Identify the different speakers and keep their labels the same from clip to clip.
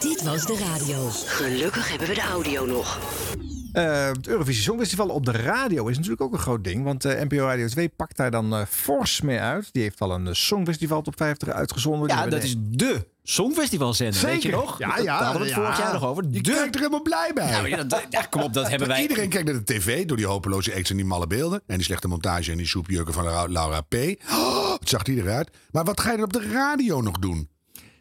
Speaker 1: Dit was de radio. Gelukkig hebben we de audio nog.
Speaker 2: Eh, het Eurovisie Songfestival op de radio is natuurlijk ook een groot ding. Want eh, NPO Radio 2 pakt daar dan eh, fors mee uit. Die heeft al een eh, Songfestival Top 50 uitgezonden. Die
Speaker 3: Ja,
Speaker 2: hebben
Speaker 3: dat
Speaker 2: de-
Speaker 3: is de Songfestivalzender. Weet je nog?
Speaker 2: Ja, ja,
Speaker 3: Daar hadden we het
Speaker 2: ja.
Speaker 3: vorig jaar nog over.
Speaker 4: Nou, Je
Speaker 3: De...
Speaker 4: kijkt er helemaal blij bij.
Speaker 3: Nou, ja, dat- ja, kom op, dat hebben wij.
Speaker 4: Iedereen kijkt naar de tv door die hopeloze acts en die malle beelden. En die slechte montage en die soepjeuken van Laura- Laura P. Oh, het zag die eruit. Maar wat ga je dan op de radio nog doen?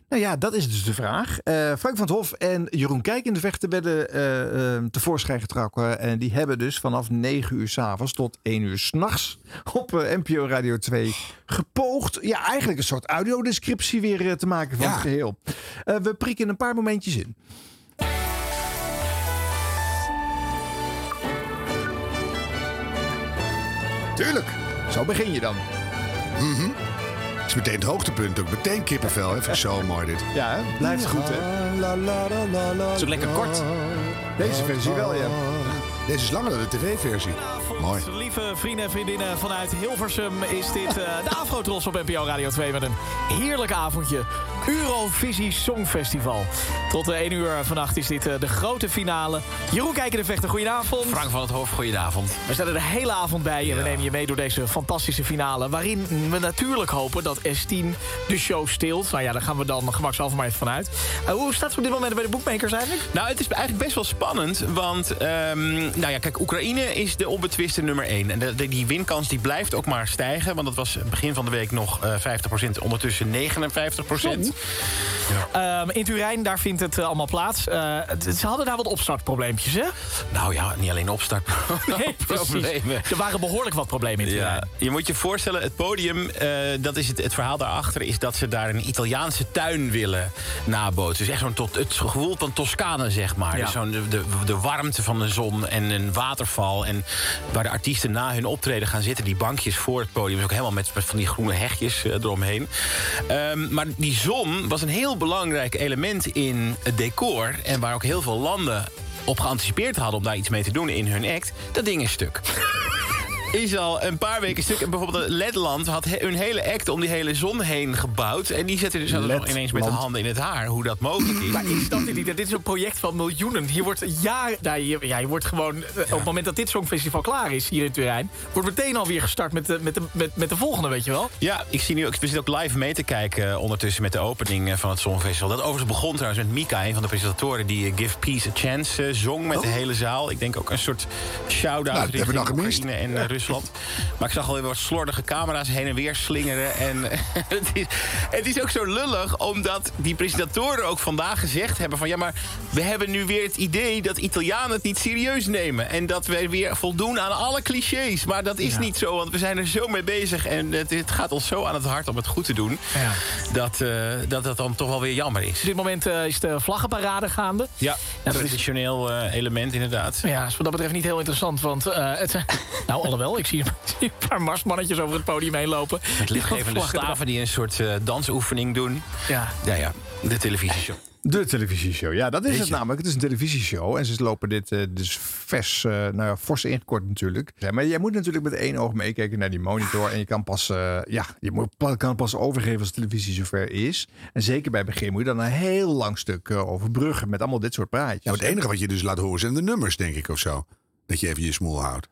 Speaker 2: Nou ja, dat is dus de vraag. Eh, Frank van het Hof en Jeroen Kijk in de vechten werden eh, eh, tevoorschijn getrokken. En die hebben dus vanaf 9 uur s'avonds tot 1 uur s'nachts op eh, NPO Radio 2 gepoogd. Ja, eigenlijk een soort audiodescriptie weer eh, te maken van
Speaker 4: Ja.
Speaker 2: het geheel. Eh, we prikken een paar momentjes in.
Speaker 4: Tuurlijk.
Speaker 2: Zo begin je dan.
Speaker 4: Het is meteen het hoogtepunt ook. Meteen kippenvel. Hè? Vind ik zo mooi dit.
Speaker 2: Ja, hè? blijft goed hè.
Speaker 3: Het is ook lekker
Speaker 2: Oh.
Speaker 3: kort.
Speaker 2: Deze versie wel ja.
Speaker 4: Deze is langer dan de tv-versie. Mooi.
Speaker 5: Goedenavond, Lieve vrienden en vriendinnen vanuit Hilversum is dit eh, de Afrotros op NPO Radio 2 met een heerlijk avondje. Eurovisie Songfestival. Tot de 1 uur vannacht is dit eh, de grote finale. Jeroen Kijken de Vechter, goedenavond.
Speaker 6: Frank van het Hof, goedenavond.
Speaker 5: We staan er de hele avond bij en we nemen je mee door deze fantastische finale. Waarin we natuurlijk hopen dat S10 de show stilt. Nou ja, daar gaan we dan gemakshalve maar even vanuit. Eh, hoe staat het op dit moment bij de boekmakers eigenlijk?
Speaker 6: Nou, het is eigenlijk best wel spannend, want ehm, nou ja, kijk, Oekraïne is de onbetwiste nummer 1. En de- de- die winkans die blijft ook maar stijgen, want dat was begin van de week nog eh 50%, ondertussen 59%.
Speaker 5: Ehm, in Turijn, daar vindt het eh, allemaal plaats. Eh, het- ze hadden daar wat opstartprobleempjes, hè?
Speaker 6: Nou ja, niet alleen opstart, maar ook
Speaker 5: precies.
Speaker 6: problemen.
Speaker 5: Er waren behoorlijk wat problemen in Turijn.
Speaker 6: Ja, je moet je voorstellen, het podium, eh, dat is het, het verhaal daarachter... is dat ze daar een Italiaanse tuin willen nabootsen. Dus echt zo'n tot, het gevoel van Toscane, zeg maar.
Speaker 5: Ja.
Speaker 6: Dus zo'n, de, de, de warmte van de zon en een waterval... en waar de artiesten na hun optreden gaan zitten... die bankjes voor het podium, dus ook helemaal met, met van die groene hegjes eh, eromheen. Ehm, maar die zon was een heel belangrijk element in het decor... en waar ook heel veel landen op geanticipeerd hadden... om daar iets mee te doen in hun act. Dat ding is stuk is al een paar weken stuk. En bijvoorbeeld Letland had he- hun hele act om die hele zon heen gebouwd. En die zetten dus altijd nog ineens met de handen in het haar hoe dat mogelijk is.
Speaker 5: Maar ik snap dit niet. Dit is een project van miljoenen. Hier wordt jaar, nou, hier- ja, je wordt gewoon, eh, op het moment dat dit songfestival klaar is hier in Turijn, wordt meteen alweer gestart met de, met de, met, met de volgende, weet je wel? Dus
Speaker 6: Ja, ik zie nu ook, we zitten ook live mee te kijken eh, ondertussen met de opening eh, van het Songfestival. Dat overigens begon trouwens met Mika, een van de presentatoren die eh, Give Peace a Chance eh, zong met de hele zaal. Ik denk ook een soort shout-out
Speaker 4: Oh. Nou, dat hebben we
Speaker 6: richting
Speaker 4: dan gemist.
Speaker 6: Oekraïne en eh, Rusland. Maar ik zag alweer wat slordige camera's heen en weer slingeren. En het, is, het is ook zo lullig, omdat die presentatoren ook vandaag gezegd hebben van ja, maar we hebben nu weer het idee dat Italianen het niet serieus nemen. En dat wij weer voldoen aan alle clichés. Maar dat is niet zo, want we zijn er zo mee bezig. En het, het gaat ons zo aan het hart om het goed te doen.
Speaker 5: Ja.
Speaker 6: Dat, eh, dat dat dan toch wel weer jammer
Speaker 5: Op
Speaker 6: is.
Speaker 5: dit moment eh, is de vlaggenparade gaande.
Speaker 6: Ja,
Speaker 5: dat is-
Speaker 6: traditioneel eh, element inderdaad.
Speaker 5: Ja, is wat dat betreft niet heel interessant, want eh, het zijn... Nou, alhoewel, ik zie ik zie een paar marsmannetjes over het podium heen lopen.
Speaker 6: Met lichtgevende
Speaker 5: Vlaggen eraf.
Speaker 6: staven die een soort eh, dansoefening doen.
Speaker 5: Ja.
Speaker 6: Ja, ja, de televisieshow.
Speaker 2: De televisieshow. Ja, dat is
Speaker 6: Weet
Speaker 2: het
Speaker 6: je.
Speaker 2: namelijk. Het is een televisieshow. En ze lopen dit eh, dus vers, eh, nou ja, fors ingekort natuurlijk. Ja, maar jij moet natuurlijk met één oog meekijken naar die monitor. En je kan pas, eh, ja, je moet, pa- kan pas overgeven als de televisie zover is. En zeker bij het begin moet je dan een heel lang stuk eh, overbruggen met allemaal dit soort praatjes.
Speaker 4: Ja, maar het enige wat je dus laat horen zijn de nummers, denk ik, of zo. Dat je even je smoel houdt.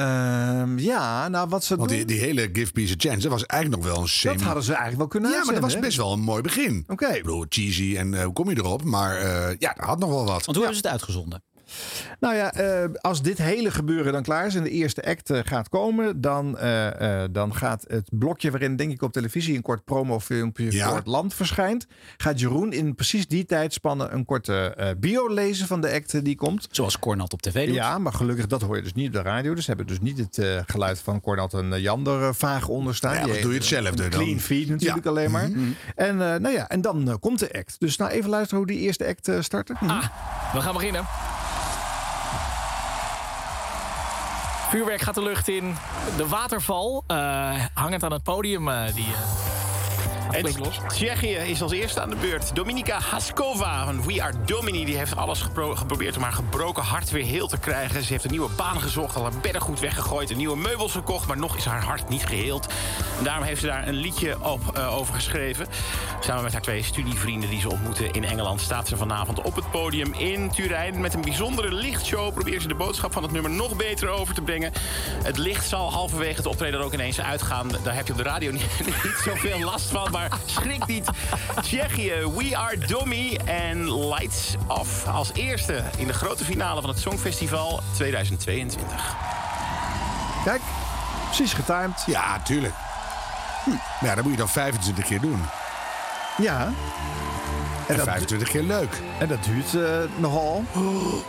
Speaker 2: Ehm, ja, nou wat ze
Speaker 4: Want
Speaker 2: doen,
Speaker 4: die, die hele Give Peace a Chance, dat was eigenlijk nog wel een semi...
Speaker 2: dat hadden ze eigenlijk wel kunnen
Speaker 4: ja, maar dat was
Speaker 2: uitzenden,
Speaker 4: best wel een mooi begin.
Speaker 2: Oké.
Speaker 4: Ik bedoel, cheesy en eh, hoe kom je erop? Maar eh, ja, dat had nog wel wat.
Speaker 3: Want hoe hebben ze het uitgezonden?
Speaker 2: Nou ja, eh, als dit hele gebeuren dan klaar is en de eerste act eh, gaat komen, dan, eh, eh, dan gaat het blokje waarin denk ik op televisie een kort promofilmpje
Speaker 4: Ja.
Speaker 2: voor het land verschijnt, gaat Jeroen in precies die tijdspanne een korte eh, bio lezen van de act eh, die komt.
Speaker 3: Zoals Cornat op tv doet.
Speaker 2: Ja, maar gelukkig dat hoor je dus niet op de radio. Dus ze hebben dus niet het eh, geluid van Cornat en eh, Jander eh, vaag onderstaan.
Speaker 4: Ja,
Speaker 2: Die
Speaker 4: dat doe je
Speaker 2: heeft, eh,
Speaker 4: hetzelfde
Speaker 2: een
Speaker 4: dan.
Speaker 2: Clean feed natuurlijk
Speaker 4: Ja. Mhm.
Speaker 2: alleen maar. En eh, nou ja, en dan eh, komt de act. Dus nou even luisteren hoe die eerste act eh startte.
Speaker 5: Ah, we gaan beginnen. Vuurwerk gaat de lucht in. De waterval, eh, hangend aan het podium, eh, die eh,
Speaker 6: En
Speaker 5: Flink los.
Speaker 6: Tsjechië is als eerste aan de beurt. Dominika Haskova van We Are Domini. Die heeft alles gepro- geprobeerd om haar gebroken hart weer heel te krijgen. Ze heeft een nieuwe baan gezocht, al haar bedden goed weggegooid... en nieuwe meubels gekocht, maar nog is haar hart niet geheeld. En daarom heeft ze daar een liedje op, eh, over geschreven. Samen met haar twee studievrienden die ze ontmoeten in Engeland... staat ze vanavond op het podium in Turijn. Met een bijzondere lichtshow probeert ze de boodschap van het nummer... nog beter over te brengen. Het licht zal halverwege het optreden er ook ineens uitgaan. Daar heb je op de radio niet, niet zoveel last van, maar schrik niet. Tsjechië, We Are Dummy en Lights Off. Als eerste in de grote finale van het Songfestival 2022.
Speaker 2: Kijk, precies getimed.
Speaker 4: Ja, tuurlijk. Hm. Ja, dat moet je dan 25 keer doen.
Speaker 2: Ja. En
Speaker 4: En
Speaker 2: dat,
Speaker 4: 25 keer leuk.
Speaker 2: en dat duurt eh, nogal.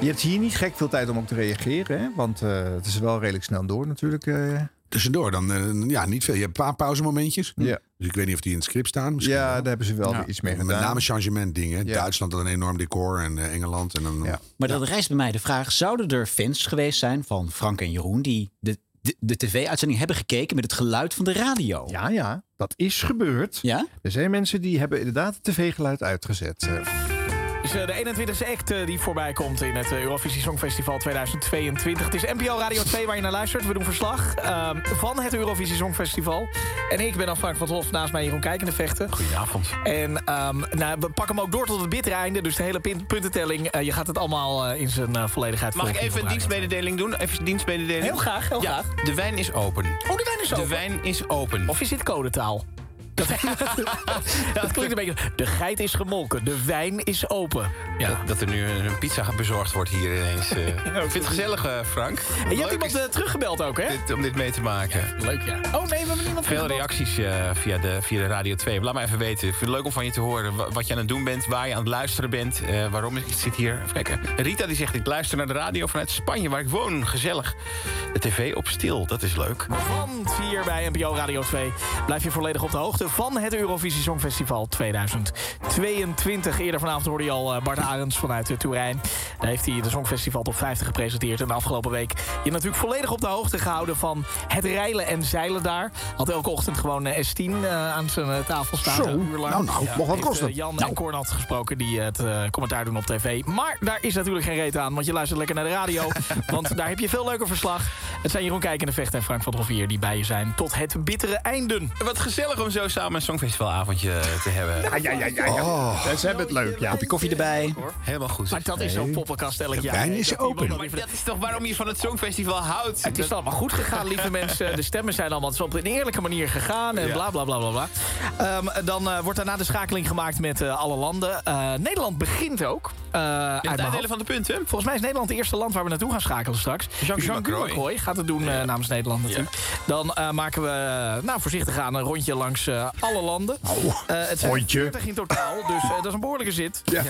Speaker 2: Je hebt hier niet gek veel tijd om ook te reageren, hè? Want eh, het is wel redelijk snel door natuurlijk. eh.
Speaker 4: Tussendoor dan, eh, ja, niet veel. Je hebt een paar pauzemomentjes.
Speaker 2: Ja.
Speaker 4: Dus ik weet niet of die in het script staan. Misschien
Speaker 2: ja,
Speaker 4: wel.
Speaker 2: daar hebben ze wel weer iets mee
Speaker 4: Met
Speaker 2: gedaan.
Speaker 4: name changement dingen.
Speaker 2: Ja.
Speaker 4: Duitsland had een enorm decor en eh, Engeland. En dan,
Speaker 2: Ja.
Speaker 3: Maar dat rijst bij mij de vraag: zouden er fans geweest zijn van Frank en Jeroen die de, de, de tv-uitzending hebben gekeken met het geluid van de radio?
Speaker 2: Ja, ja, dat is gebeurd.
Speaker 3: Ja?
Speaker 2: Er zijn mensen die hebben inderdaad het tv-geluid uitgezet. Eh,
Speaker 5: is eh, de 21ste act eh, die voorbij komt in het eh, Eurovisie Songfestival 2022. Het is NPO Radio 2 waar je naar luistert. We doen verslag eh, van het Eurovisie Songfestival. En ik ben dan Frank van het Hof, naast mij Jeroen Kijkende vechten.
Speaker 6: Goedenavond.
Speaker 5: En ehm, nou, we pakken hem ook door tot het bittere einde. Dus de hele pin- puntentelling, eh, je gaat het allemaal eh, in zijn eh, volledigheid
Speaker 6: Mag ik
Speaker 5: volgen
Speaker 6: even een
Speaker 5: hier op Radio
Speaker 6: dienstmededeling doen? Even een dienstmededeling.
Speaker 5: Heel graag, heel
Speaker 6: ja,
Speaker 5: graag.
Speaker 6: De wijn is open.
Speaker 5: Oh, de wijn is
Speaker 6: De
Speaker 5: open.
Speaker 6: wijn is open.
Speaker 5: Of is dit codetaal? Dat, dat klinkt een beetje... De geit is gemolken, de wijn is open.
Speaker 6: ja. dat er nu een pizza bezorgd wordt hier ineens. eh. Ik vind het gezelf, eh, Frank.
Speaker 5: En je
Speaker 6: Leuk
Speaker 5: hebt iemand
Speaker 6: is
Speaker 5: eh, teruggebeld ook, hè?
Speaker 6: dit- om dit mee te maken.
Speaker 5: Leuk, ja. Oh nee, we hebben niemand
Speaker 6: Veel
Speaker 5: teruggebeld.
Speaker 6: reacties eh, via, de, via de Radio 2. Laat maar even weten. Ik vind het leuk om van je te horen wa- wat je aan het doen bent, waar je aan het luisteren bent, eh, waarom ik zit hier. Even kijken. Rita die zegt, ik luister naar de radio vanuit Spanje, waar ik woon. Gezellig. De tv op stil, dat is leuk.
Speaker 5: Want hier bij NPO Radio 2 blijf je volledig op de hoogte van het Eurovisie Songfestival 2022. Eerder vanavond hoorde je al eh, Bart Arends vanuit eh, Turijn. Daar heeft hij de Songfestival Top 50 gepresenteerd. En de afgelopen week je natuurlijk volledig op de hoogte gehouden van het reilen en zeilen daar. Had elke ochtend gewoon eh, S10 eh, aan zijn eh, tafel staan.
Speaker 4: Zo,
Speaker 5: een uur lang.
Speaker 4: nou, nou, mocht wat
Speaker 5: Heeft,
Speaker 4: kosten.
Speaker 5: eh, Jan en Cor had gesproken die eh, het eh, commentaar doen op tv. Maar daar is natuurlijk geen reet aan, want je luistert lekker naar de radio. want daar heb je veel leuker verslag. Het zijn Jeroen Kijkende Vecht en Frank van der Hof hier die bij je zijn. Tot het bittere einden.
Speaker 6: Wat gezellig om zo samen een songfestivalavondje eh, te hebben.
Speaker 2: Ja, ja, ja, ja. ja. Ze hebben het leuk, ja.
Speaker 3: Kopje koffie erbij.
Speaker 6: Helemaal goed.
Speaker 5: Maar dat is zo'n poppenkast elk jaar.
Speaker 4: wijn
Speaker 5: hè,
Speaker 4: is
Speaker 5: dat iemand
Speaker 4: open.
Speaker 5: dan
Speaker 6: Maar
Speaker 5: even de-
Speaker 6: dat is toch waarom je van het songfestival houdt?
Speaker 5: Het is allemaal goed gegaan, lieve mensen. De stemmen zijn allemaal het is op een eerlijke manier gegaan. En bla bla bla bla bla. Ehm, dan eh, wordt daarna de schakeling gemaakt met eh, alle landen. Eh, Nederland begint ook. eh, uit mijn
Speaker 6: het
Speaker 5: hoofd.
Speaker 6: uitdelen van de punten.
Speaker 5: Volgens mij is Nederland het eerste land waar we naartoe gaan schakelen straks.
Speaker 6: Jean-Guy Macroy.
Speaker 5: Macroy gaat het doen eh, namens Nederland natuurlijk. Dan eh, maken we eh, nou, voorzichtig aan een rondje langs eh, alle landen. Eh, het zijn
Speaker 2: rondje.
Speaker 5: 40 in totaal, dus eh, dat is een behoorlijke zit. Ja.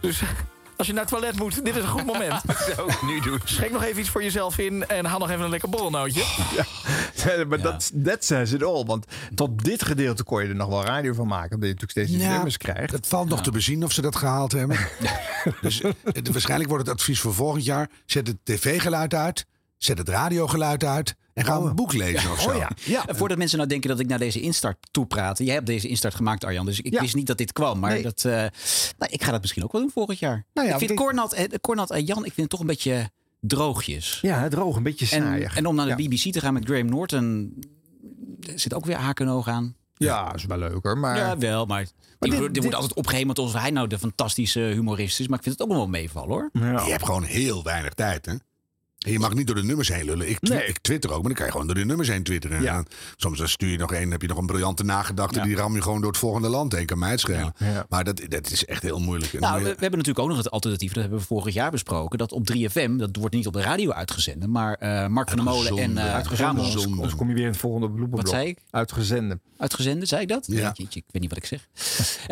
Speaker 5: Dus eh, als je naar het toilet moet, dit is een goed moment.
Speaker 6: Zo, nu dus. doen.
Speaker 5: Schenk nog even iets voor jezelf in en haal nog even een lekker borrelnootje.
Speaker 2: maar dat that says it all. Want tot dit gedeelte kon je er nog wel radio van maken. Omdat je natuurlijk steeds die nummers krijgt.
Speaker 4: Nou, Het valt nog te bezien of ze dat gehaald hebben. dus eh, het- waarschijnlijk wordt het advies voor volgend jaar: zet het tv-geluid uit, zet het radiogeluid uit en ga een boek lezen of zo.
Speaker 2: Oh. Ja,
Speaker 3: En voordat mensen nou denken dat ik naar deze instart toe praat. Jij hebt deze instart gemaakt, Arjan. Dus ik
Speaker 2: Ja.
Speaker 3: wist niet dat dit kwam. Maar
Speaker 2: Nee.
Speaker 3: dat, eh, nou, ik ga dat misschien ook wel doen volgend jaar.
Speaker 2: Nou ja,
Speaker 3: ik vind
Speaker 2: want ik-
Speaker 3: Cornat, eh, Cornat en Jan, ik vind het toch een beetje droogjes.
Speaker 2: ja, droog, een beetje
Speaker 3: En,
Speaker 2: saaiig.
Speaker 3: en om naar de
Speaker 2: Ja.
Speaker 3: BBC te gaan met Graham Norton. er Zit ook weer haken en ogen aan.
Speaker 2: Ja, is wel leuk hoor. Maar
Speaker 3: ja, wel, maar. die,
Speaker 2: dit-
Speaker 3: wordt- die
Speaker 2: dit-
Speaker 3: wordt altijd opgehemeld alsof hij nou de fantastische humorist is. Maar ik vind het ook nog wel meevallen hoor.
Speaker 2: Ja.
Speaker 4: Je hebt gewoon heel weinig tijd, hè? En je mag niet door de nummers heen lullen. Ik, twi-
Speaker 2: Nee.
Speaker 4: ik twitter ook, maar dan kan je gewoon door de nummers heen twitteren.
Speaker 2: Ja.
Speaker 4: En dan- soms dan stuur je nog één, heb je nog een briljante nagedachte. Die ram je gewoon door het volgende land heen. Kan mij het schelen.
Speaker 2: Ja.
Speaker 4: Maar dat, dat is echt heel moeilijk. En dan
Speaker 3: Nou, we,
Speaker 4: moet
Speaker 3: we
Speaker 4: je-
Speaker 3: hebben natuurlijk ook nog het alternatief. Dat hebben we vorig jaar besproken. Dat op 3FM, dat wordt niet op de radio uitgezonden. Maar eh, Mark van der Molen
Speaker 4: zonde.
Speaker 3: en eh
Speaker 4: Uitgezonden
Speaker 3: Ramos
Speaker 4: zonde.
Speaker 2: Anders kom je weer in het volgende bloemenblok.
Speaker 3: Wat zei ik?
Speaker 2: Uitgezenden.
Speaker 3: uitgezenden, zei ik dat?
Speaker 4: Ja.
Speaker 3: Jeetje, ik weet niet wat ik zeg.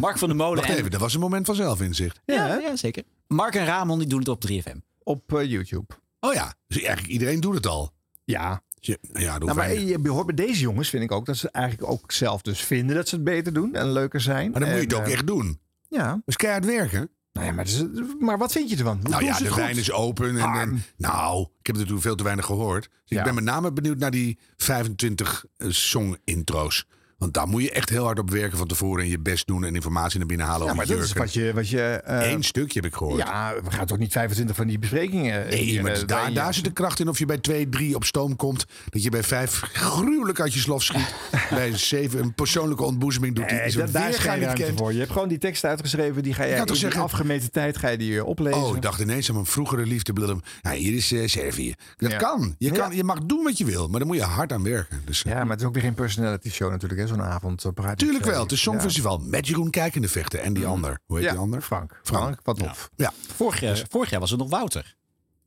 Speaker 3: Mark van der Molen
Speaker 4: Wacht
Speaker 3: en...
Speaker 4: even, dat was een moment van zelfinzicht.
Speaker 3: Ja,
Speaker 2: hè?
Speaker 3: ja, zeker. Mark en Ramon die doen het op 3FM.
Speaker 2: Op eh, YouTube.
Speaker 4: Oh ja, dus eigenlijk iedereen doet het al.
Speaker 2: Ja,
Speaker 4: Ja, ja, dat
Speaker 2: Nou,
Speaker 4: hoeft
Speaker 2: maar
Speaker 4: eigenlijk-
Speaker 2: je behoort bij deze jongens, vind ik ook, dat ze eigenlijk ook zelf dus vinden dat ze het beter doen en leuker zijn.
Speaker 4: maar dan moet je het
Speaker 2: En,
Speaker 4: ook
Speaker 2: eh,
Speaker 4: echt doen. Dat
Speaker 2: Ja,
Speaker 4: is keihard werken.
Speaker 2: nou ja maar, het is- maar wat vind je ervan? Hoe
Speaker 4: Nou
Speaker 2: doen
Speaker 4: ja,
Speaker 2: ze
Speaker 4: de
Speaker 2: het
Speaker 4: wijn
Speaker 2: goed?
Speaker 4: is open. En, en,
Speaker 2: Arm.
Speaker 4: nou, ik heb natuurlijk veel te weinig gehoord. Dus
Speaker 2: Ja.
Speaker 4: Ik ben met name benieuwd naar die 25 eh, song-intro's. Want daar moet je echt heel hard op werken van tevoren. En je best doen en informatie naar binnen halen.
Speaker 2: Ja,
Speaker 4: om
Speaker 2: maar
Speaker 4: die
Speaker 2: dat is
Speaker 4: jurken.
Speaker 2: wat je... Wat je eh,
Speaker 4: Eén stukje heb ik gehoord.
Speaker 2: ja, we gaan toch niet 25 van die besprekingen...
Speaker 4: Nee,
Speaker 2: hier,
Speaker 4: maar
Speaker 2: eh,
Speaker 4: het is daar,
Speaker 2: bij-
Speaker 4: daar zit de kracht in of je bij 2, 3 op stoom komt. Dat je bij 5 gruwelijk uit je slof schiet. bij 7 een persoonlijke ontboezeming doet. die
Speaker 2: Nee,
Speaker 4: is
Speaker 2: da-
Speaker 4: een
Speaker 2: daar is
Speaker 4: weerga
Speaker 2: geen
Speaker 4: niet
Speaker 2: ruimte
Speaker 4: kent.
Speaker 2: voor. Je hebt gewoon die tekst uitgeschreven. Die ga je
Speaker 4: kan
Speaker 2: in
Speaker 4: toch
Speaker 2: die
Speaker 4: zeggen-
Speaker 2: afgemeten tijd ga je die eh, oplezen.
Speaker 4: Oh, ik dacht ineens aan mijn vroegere liefde. blablabla. Ja, hier is eh, Servië. Dat
Speaker 2: Ja.
Speaker 4: kan. Je,
Speaker 2: Ja.
Speaker 4: kan. je mag doen wat je wil, maar daar moet je hard aan werken. Dus, eh,
Speaker 2: Ja, maar het is ook weer geen personality show natuurlijk, hè, zo'n avond. eh, praat-
Speaker 4: Tuurlijk wel. Het is
Speaker 2: Ja.
Speaker 4: Songfestival met Jeroen Kijkende vechten. En die ander. Hoe heet
Speaker 2: Ja,
Speaker 4: die ander?
Speaker 2: Frank.
Speaker 4: Frank.
Speaker 2: Frank, wat of.
Speaker 4: Ja.
Speaker 3: Vorig jaar, vorig jaar was het nog Wouter.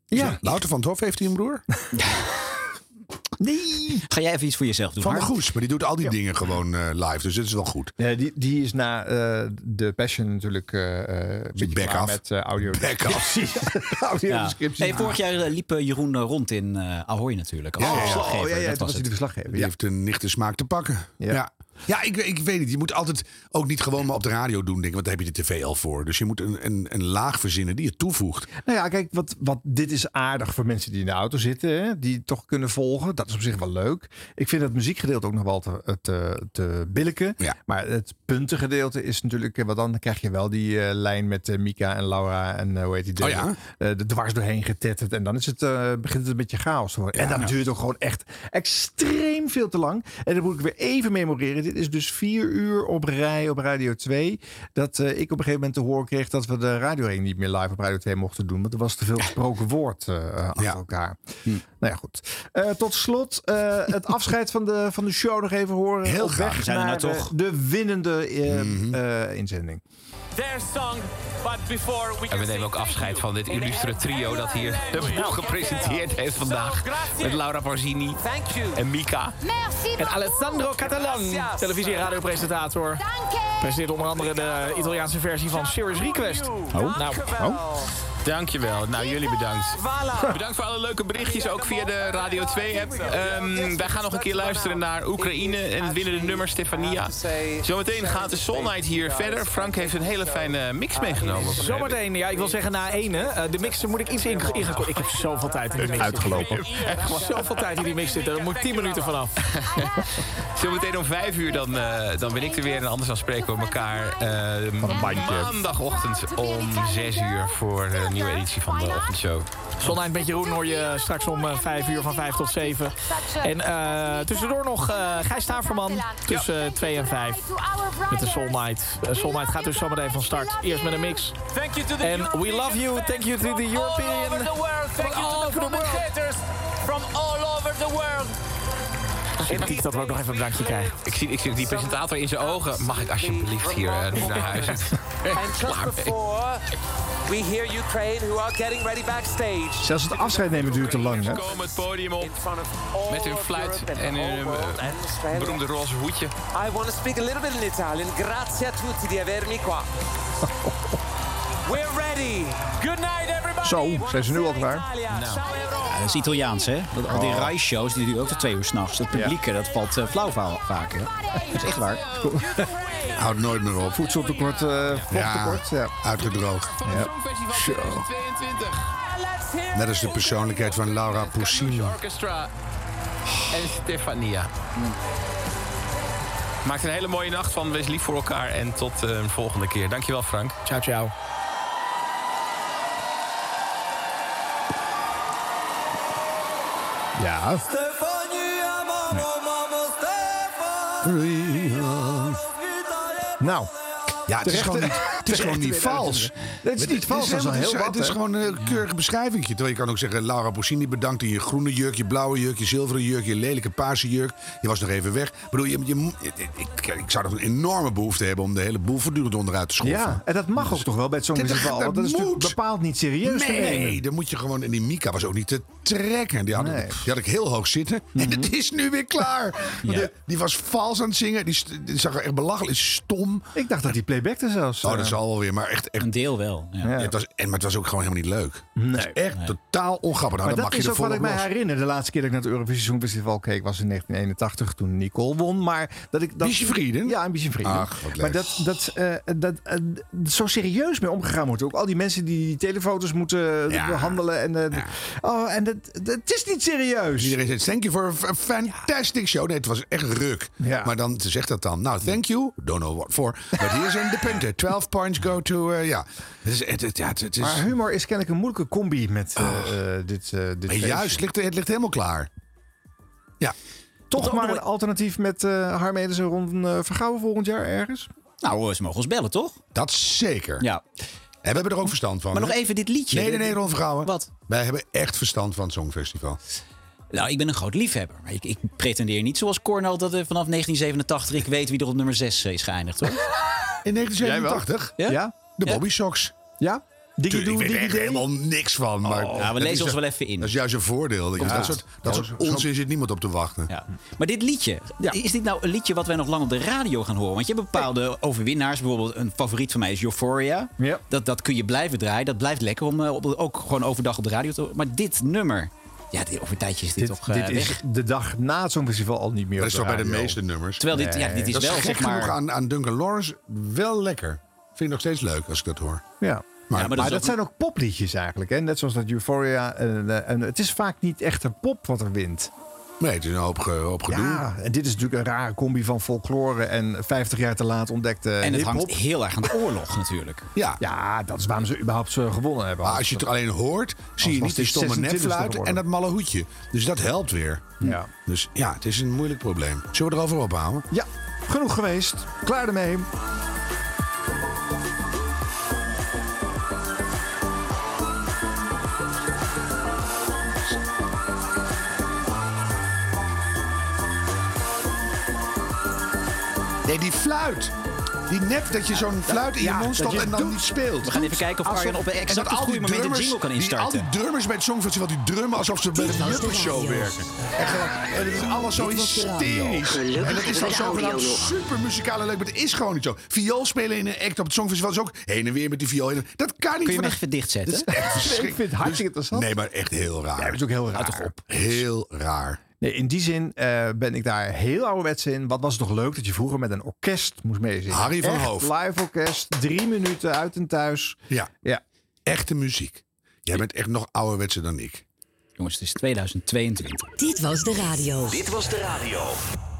Speaker 2: Ja.
Speaker 4: Wouter van het Hof heeft hij een broer?
Speaker 2: Nee.
Speaker 3: Ga jij even iets voor jezelf doen?
Speaker 4: Van de
Speaker 3: Harm?
Speaker 4: Goes. Maar die doet al die dingen gewoon eh, live. Dus dat is wel goed.
Speaker 2: Ja, die, die is na eh, de Passion natuurlijk eh, eh, een beetje
Speaker 4: back
Speaker 2: klaar
Speaker 4: af.
Speaker 2: met eh, audio.
Speaker 4: Back off.
Speaker 2: Precies. audio
Speaker 3: Ja.
Speaker 2: descriptie.
Speaker 3: Hey, vorig jaar eh, liep eh, Jeroen eh, rond in eh, Ahoy natuurlijk. als
Speaker 4: Ja, ja, ja.
Speaker 3: verslaggever.
Speaker 2: Oh ja, ja,
Speaker 3: dat was
Speaker 2: de
Speaker 3: het.
Speaker 2: verslaggever.
Speaker 4: Die heeft een nichte smaak te pakken.
Speaker 2: Ja.
Speaker 4: Ja, ja. ik, ik weet het. Je moet altijd ook niet gewoon maar op de radio doen, denk ik. Want daar heb je de tv al voor. Dus je moet een, een, een laag verzinnen die je toevoegt.
Speaker 2: Nou ja, kijk, wat, wat, dit is aardig voor mensen die in de auto zitten. Hè, die toch kunnen volgen. Dat is op zich wel leuk. Ik vind het muziekgedeelte ook nog wel te, te, te billijken.
Speaker 4: Ja.
Speaker 2: Maar het puntengedeelte is natuurlijk... eh, Want dan krijg je wel die eh, lijn met eh, Mika en Laura en eh, hoe heet die? De,
Speaker 4: Oh ja?
Speaker 2: eh, de dwars doorheen getetterd. En dan is het, eh, begint het een beetje chaos te worden. en dat duurt ook gewoon echt extreem veel te lang. En dan moet ik weer even memoreren. Dit is dus vier uur op rij op Radio 2. Dat eh, ik op een gegeven moment te horen kreeg dat we de Radio 1 niet meer live op Radio 2 mochten doen. Want er was te veel gesproken woord eh, eh, achter
Speaker 4: Ja.
Speaker 2: elkaar.
Speaker 3: Hm.
Speaker 2: Nou ja, goed. Eh, tot slot eh, het afscheid van de, van de show nog even horen.
Speaker 4: Heel
Speaker 2: Op
Speaker 4: graag.
Speaker 2: weg
Speaker 3: We zijn er
Speaker 2: naar
Speaker 3: nou
Speaker 2: de-
Speaker 3: toch. Mhm.
Speaker 2: de winnende eh, eh, inzending.
Speaker 7: their song, but before we
Speaker 6: En
Speaker 7: can
Speaker 6: we nemen ook afscheid van dit illustre trio dat hier de boel gepresenteerd heeft vandaag. Met Laura Parzini
Speaker 7: Thank you.
Speaker 6: en Mika.
Speaker 8: Merci
Speaker 5: En
Speaker 8: beaucoup.
Speaker 5: Alessandro Catalan,
Speaker 7: Gracias.
Speaker 5: televisie- en radiopresentator.
Speaker 8: Danke.
Speaker 5: Presenteert onder andere de Italiaanse versie van Serious Request. Nou,
Speaker 6: Dankjewel. Nou, jullie bedankt.
Speaker 7: Voilà.
Speaker 6: Bedankt voor alle leuke berichtjes, ook via de Radio 2-app. wij gaan nog een keer luisteren naar Oekraïne en het winnende nummer Stefania. Zometeen gaat de Soul Night hier verder. Frank heeft een hele fijne mix meegenomen.
Speaker 5: zometeen, ja, ik wil zeggen na ene. eh, de mixen moet ik iets in ingekomen. Ik heb zoveel tijd in die mix.
Speaker 2: Uitgelopen.
Speaker 5: Echt gewoon zoveel tijd in die mix zitten. Daar moet ik 10 minuten vanaf.
Speaker 6: Zometeen om vijf uur dan, eh, dan ben ik er weer. En anders dan spreken we elkaar eh, maandagochtend om zes uur voor een nieuwe editie van de Ochtendshow.
Speaker 5: Zonheid met Jeroen hoor je straks om eh, 5 uur van 5 tot 7. En eh, tussendoor nog eh Gijs Taverman tussen 2 en 5 met de Soul Night. Eh, Soul Night gaat dus zometeen van start. Eerst met een mix.
Speaker 7: Thank you to the
Speaker 5: And we
Speaker 7: European
Speaker 5: love you.
Speaker 7: fans
Speaker 5: Thank you to the
Speaker 7: from All over
Speaker 5: European-
Speaker 7: the world. Thank
Speaker 5: from
Speaker 7: you
Speaker 5: all
Speaker 7: to
Speaker 5: over
Speaker 7: the
Speaker 5: the world.
Speaker 7: commentators from all over the world.
Speaker 5: Sympathiek dat we ook nog even een drankje krijgen.
Speaker 6: Ik zie, ik zie die presentator in zijn ogen. Mag ik alsjeblieft hier eh, nu naar huis?
Speaker 7: And just before we hear Ukraine who are getting ready backstage
Speaker 2: Zelfs het afscheid nemen duurt te lang, hè?
Speaker 6: Ze komen het podium op.
Speaker 7: in front of all
Speaker 6: Met hun
Speaker 7: of
Speaker 6: fluit
Speaker 7: Europe and
Speaker 6: en
Speaker 7: the whole
Speaker 6: hun
Speaker 7: world
Speaker 6: eh,
Speaker 7: and Australia.
Speaker 6: beroemde roze hoedje.
Speaker 7: I want to speak a little bit in Italian. Grazie a tutti di avermi qua. We're ready. Good night everybody.
Speaker 2: Zo, zijn ze nu al klaar?
Speaker 7: Italia. Ciao, Europa.
Speaker 3: Ja, dat is Italiaans, hè? Dat, al die
Speaker 4: Oh.
Speaker 3: rijshows die duren ook tot twee uur s'nachts. Het publiek, eh, dat valt eh, flauw va- vaak, hè? Dat is echt waar.
Speaker 4: Houdt nooit meer op.
Speaker 2: Voedseltekort, eh vochttekort. Ja.
Speaker 4: uitgedroogd. Zo.
Speaker 6: 2022.
Speaker 7: Let's hear
Speaker 4: Net als de persoonlijkheid van Laura Poussino.
Speaker 6: Orchestra en Stefania. Maakt een hele mooie nacht van. Wees lief voor elkaar. En tot eh, een volgende keer. Dankjewel, Frank.
Speaker 5: Ciao, ciao.
Speaker 2: ja. Nou,
Speaker 4: Ja, het is gewoon niet, het is gewoon niet
Speaker 2: Terecht.
Speaker 4: vals.
Speaker 2: Het is niet vals, dat is
Speaker 4: helemaal-
Speaker 2: al heel
Speaker 4: het
Speaker 2: wat.
Speaker 4: Het is
Speaker 2: hè?
Speaker 4: gewoon een keurige beschrijving. Terwijl je kan ook zeggen, Laura Poussini bedankt in je groene jurk, je blauwe jurk, je zilveren jurk, je lelijke paarse jurk. Je was nog even weg. Ik bedoel, je, je, moet- ik, ik zou toch een enorme behoefte hebben om de hele boel voortdurend onderuit te schoffen.
Speaker 2: Ja, en dat mag ook toch wel bij het Songfestival.
Speaker 4: Dat-
Speaker 2: Want dat is
Speaker 4: dat
Speaker 2: natuurlijk
Speaker 4: moet.
Speaker 2: bepaald niet serieus te nemen.
Speaker 4: Nee, dan moet je gewoon. En die Mika was ook niet te trekken. Die had,
Speaker 2: Nee.
Speaker 4: die had ik heel hoog zitten. En het is nu weer klaar. Want de- die was vals aan het zingen. Die, st- die zag er echt belachelijk stom.
Speaker 2: Ik dacht dat die playbackte zelfs.
Speaker 4: Oh, dat
Speaker 2: eh,
Speaker 4: zal wel weer. Maar echt, echt
Speaker 3: Een deel wel. Ja.
Speaker 2: Ja. Hm.
Speaker 4: het was, en, maar het was ook gewoon helemaal niet leuk. Het is echt totaal ongrappig.
Speaker 2: Maar
Speaker 4: Nou, dan
Speaker 2: dat
Speaker 4: mag je
Speaker 2: is
Speaker 4: er
Speaker 2: ook wat ik
Speaker 4: volop
Speaker 2: mij
Speaker 4: los.
Speaker 2: herinner. De laatste keer dat ik naar het Eurovisie Songfestival keek was in 1981 toen Nicole won. Maar dat ik dat,
Speaker 4: Biesje Vrienden?
Speaker 2: Ja, een beetje vrienden.
Speaker 4: Ach, wat leuk.
Speaker 2: maar dat, dat, eh, dat eh, d- zo serieus mee omgegaan wordt. Ook al die mensen die die telefoto's moeten
Speaker 4: Ja.
Speaker 2: behandelen. En, eh, Oh, en dat, dat, het is niet serieus.
Speaker 4: Iedereen zegt, thank you for a f- a fantastic show. Nee, het was echt ruk.
Speaker 2: Ja.
Speaker 4: Maar dan zegt dat dan, nou, thank you, don't know what for. But here's in de punten. 12 points go to, eh, ja. Het is, het, het- ja, het, het is...
Speaker 2: Maar humor is kennelijk een moeilijke combi met eh, eh, dit, eh dit
Speaker 4: Maar
Speaker 2: feestje.
Speaker 4: juist, ligt, het ligt helemaal klaar. Ja,
Speaker 2: Toch maar een alternatief met eh Harm Edens en Ron eh, Vergouwen volgend jaar ergens.
Speaker 3: Nou, ze mogen ons bellen, toch?
Speaker 4: dat zeker.
Speaker 3: Ja.
Speaker 4: En we hebben er ook verstand van.
Speaker 3: Maar nog
Speaker 4: hè?
Speaker 3: even dit liedje.
Speaker 4: Nee, nee, nee, Ron Vergouwen.
Speaker 3: Wat?
Speaker 4: Wij hebben echt verstand van het Songfestival.
Speaker 3: Nou, ik ben een groot liefhebber. Maar ik, ik pretendeer niet zoals Cornel dat er vanaf 1987 ik weet wie er op nummer 6 is geëindigd, hoor.
Speaker 4: In 1987?
Speaker 3: Ja?
Speaker 2: Ja?
Speaker 4: De Bobby Sox.
Speaker 2: Ja?
Speaker 4: Tuurlijk,
Speaker 2: Digidoe,
Speaker 4: ik weet er echt
Speaker 2: digiday?
Speaker 4: helemaal niks van. Maar
Speaker 3: Ja, we
Speaker 4: dat is
Speaker 3: lezen Oh, ons
Speaker 4: een-
Speaker 3: wel even in.
Speaker 4: Dat is juist een voordeel. Dat, je dat soort, dat soort onzin zit niemand op te wachten.
Speaker 3: Ja. Maar dit liedje, is dit nou een liedje wat wij nog lang op de radio gaan horen? Want je hebt bepaalde overwinnaars. Bijvoorbeeld een favoriet van mij is Euphoria.
Speaker 2: Ja.
Speaker 3: Dat, dat kun je blijven draaien. Dat blijft lekker om eh, op- ook gewoon overdag op de radio te Maar dit nummer, ja, dit, over een tijdje is dit,
Speaker 2: Dit,
Speaker 3: toch eh,
Speaker 2: dit
Speaker 3: weg.
Speaker 2: is de dag na het Songfestival al niet meer
Speaker 4: Dat
Speaker 2: op
Speaker 4: is toch bij de
Speaker 2: radio.
Speaker 4: meeste nummers.
Speaker 3: Terwijl dit, ja, dit is
Speaker 4: dat is
Speaker 3: wel
Speaker 4: gek
Speaker 3: zeg maar...
Speaker 4: genoeg aan, aan Duncan Lawrence wel lekker. Vind ik nog steeds leuk als ik dat hoor.
Speaker 2: Ja.
Speaker 4: Maar,
Speaker 3: Ja, maar
Speaker 2: Maar
Speaker 3: is
Speaker 2: dat
Speaker 3: ook-
Speaker 2: zijn ook popliedjes eigenlijk. Hè? Net zoals dat Euphoria. En, eh, en het is vaak niet echt een pop wat er wint.
Speaker 4: nee, het is een hoop, ge, hoop gedoe.
Speaker 2: Ja, en dit is natuurlijk een rare combi van folklore en 50 jaar te laat ontdekte
Speaker 3: En het
Speaker 2: hiphop.
Speaker 3: hangt heel erg aan de oorlog natuurlijk.
Speaker 4: Ja.
Speaker 2: Ja, dat is waarom ze überhaupt ze gewonnen hebben.
Speaker 4: Maar als je het alleen hoort, zie je
Speaker 2: was
Speaker 4: niet die
Speaker 2: dit
Speaker 4: stomme
Speaker 2: 26e
Speaker 4: nepfluit
Speaker 2: geworden.
Speaker 4: en dat malle hoedje. Dus dat helpt weer.
Speaker 2: Ja.
Speaker 4: Dus ja, het is een moeilijk probleem. Zullen we erover ophouden?
Speaker 2: Ja, genoeg geweest. Klaar ermee.
Speaker 4: Nee, die fluit. Die nep dat je zo'n fluit in je
Speaker 2: ja,
Speaker 4: mond
Speaker 2: dat
Speaker 4: stopt
Speaker 2: je
Speaker 4: en dan
Speaker 2: doet.
Speaker 4: niet speelt.
Speaker 3: We gaan even kijken of
Speaker 4: Alsof-
Speaker 3: Arjan op
Speaker 4: en
Speaker 3: exact
Speaker 4: dat
Speaker 3: het
Speaker 4: al die
Speaker 3: goede moment de
Speaker 4: drummers-
Speaker 3: jingle kan
Speaker 4: die-
Speaker 3: instarten.
Speaker 4: al die drummers bij het Songfestival, die drummen alsof ze bij de Muppetshow werken. En, gewoon- en het is allemaal zo
Speaker 1: Dit was de radio.
Speaker 4: hysterisch.
Speaker 1: Gelukkig
Speaker 4: En dat is
Speaker 1: hebben
Speaker 4: dan
Speaker 1: we de
Speaker 4: zogenaamd
Speaker 1: audio nog.
Speaker 4: super muzikaal en nou, leuk, maar het is gewoon niet zo. Viool spelen in een act op het Songfestival is ook heen en weer met die viool. heen en- Dat kan
Speaker 3: Kun
Speaker 4: niet.
Speaker 3: je
Speaker 4: van
Speaker 3: hem
Speaker 4: de-
Speaker 3: echt even dichtzetten?
Speaker 4: Dat is echt verschrikkelijk. Dus-
Speaker 2: Ik vind het hartstikke interessant.
Speaker 4: Nee, maar echt heel raar.
Speaker 2: Ja, dat is ook heel raar.
Speaker 4: Houd toch op. Heel raar.
Speaker 2: Nee, in die zin eh, ben ik daar heel ouderwets in. Wat was het toch leuk dat je vroeger met een orkest moest meezingen.
Speaker 4: Harry van
Speaker 2: Echt
Speaker 4: Hoofd.
Speaker 2: live orkest, drie minuten uit en thuis.
Speaker 4: Ja,
Speaker 2: Ja,
Speaker 4: echte muziek. Jij bent echt nog ouderwetser dan ik.
Speaker 3: Jongens, het is 2022.
Speaker 1: Dit was de radio.
Speaker 8: Dit was de radio.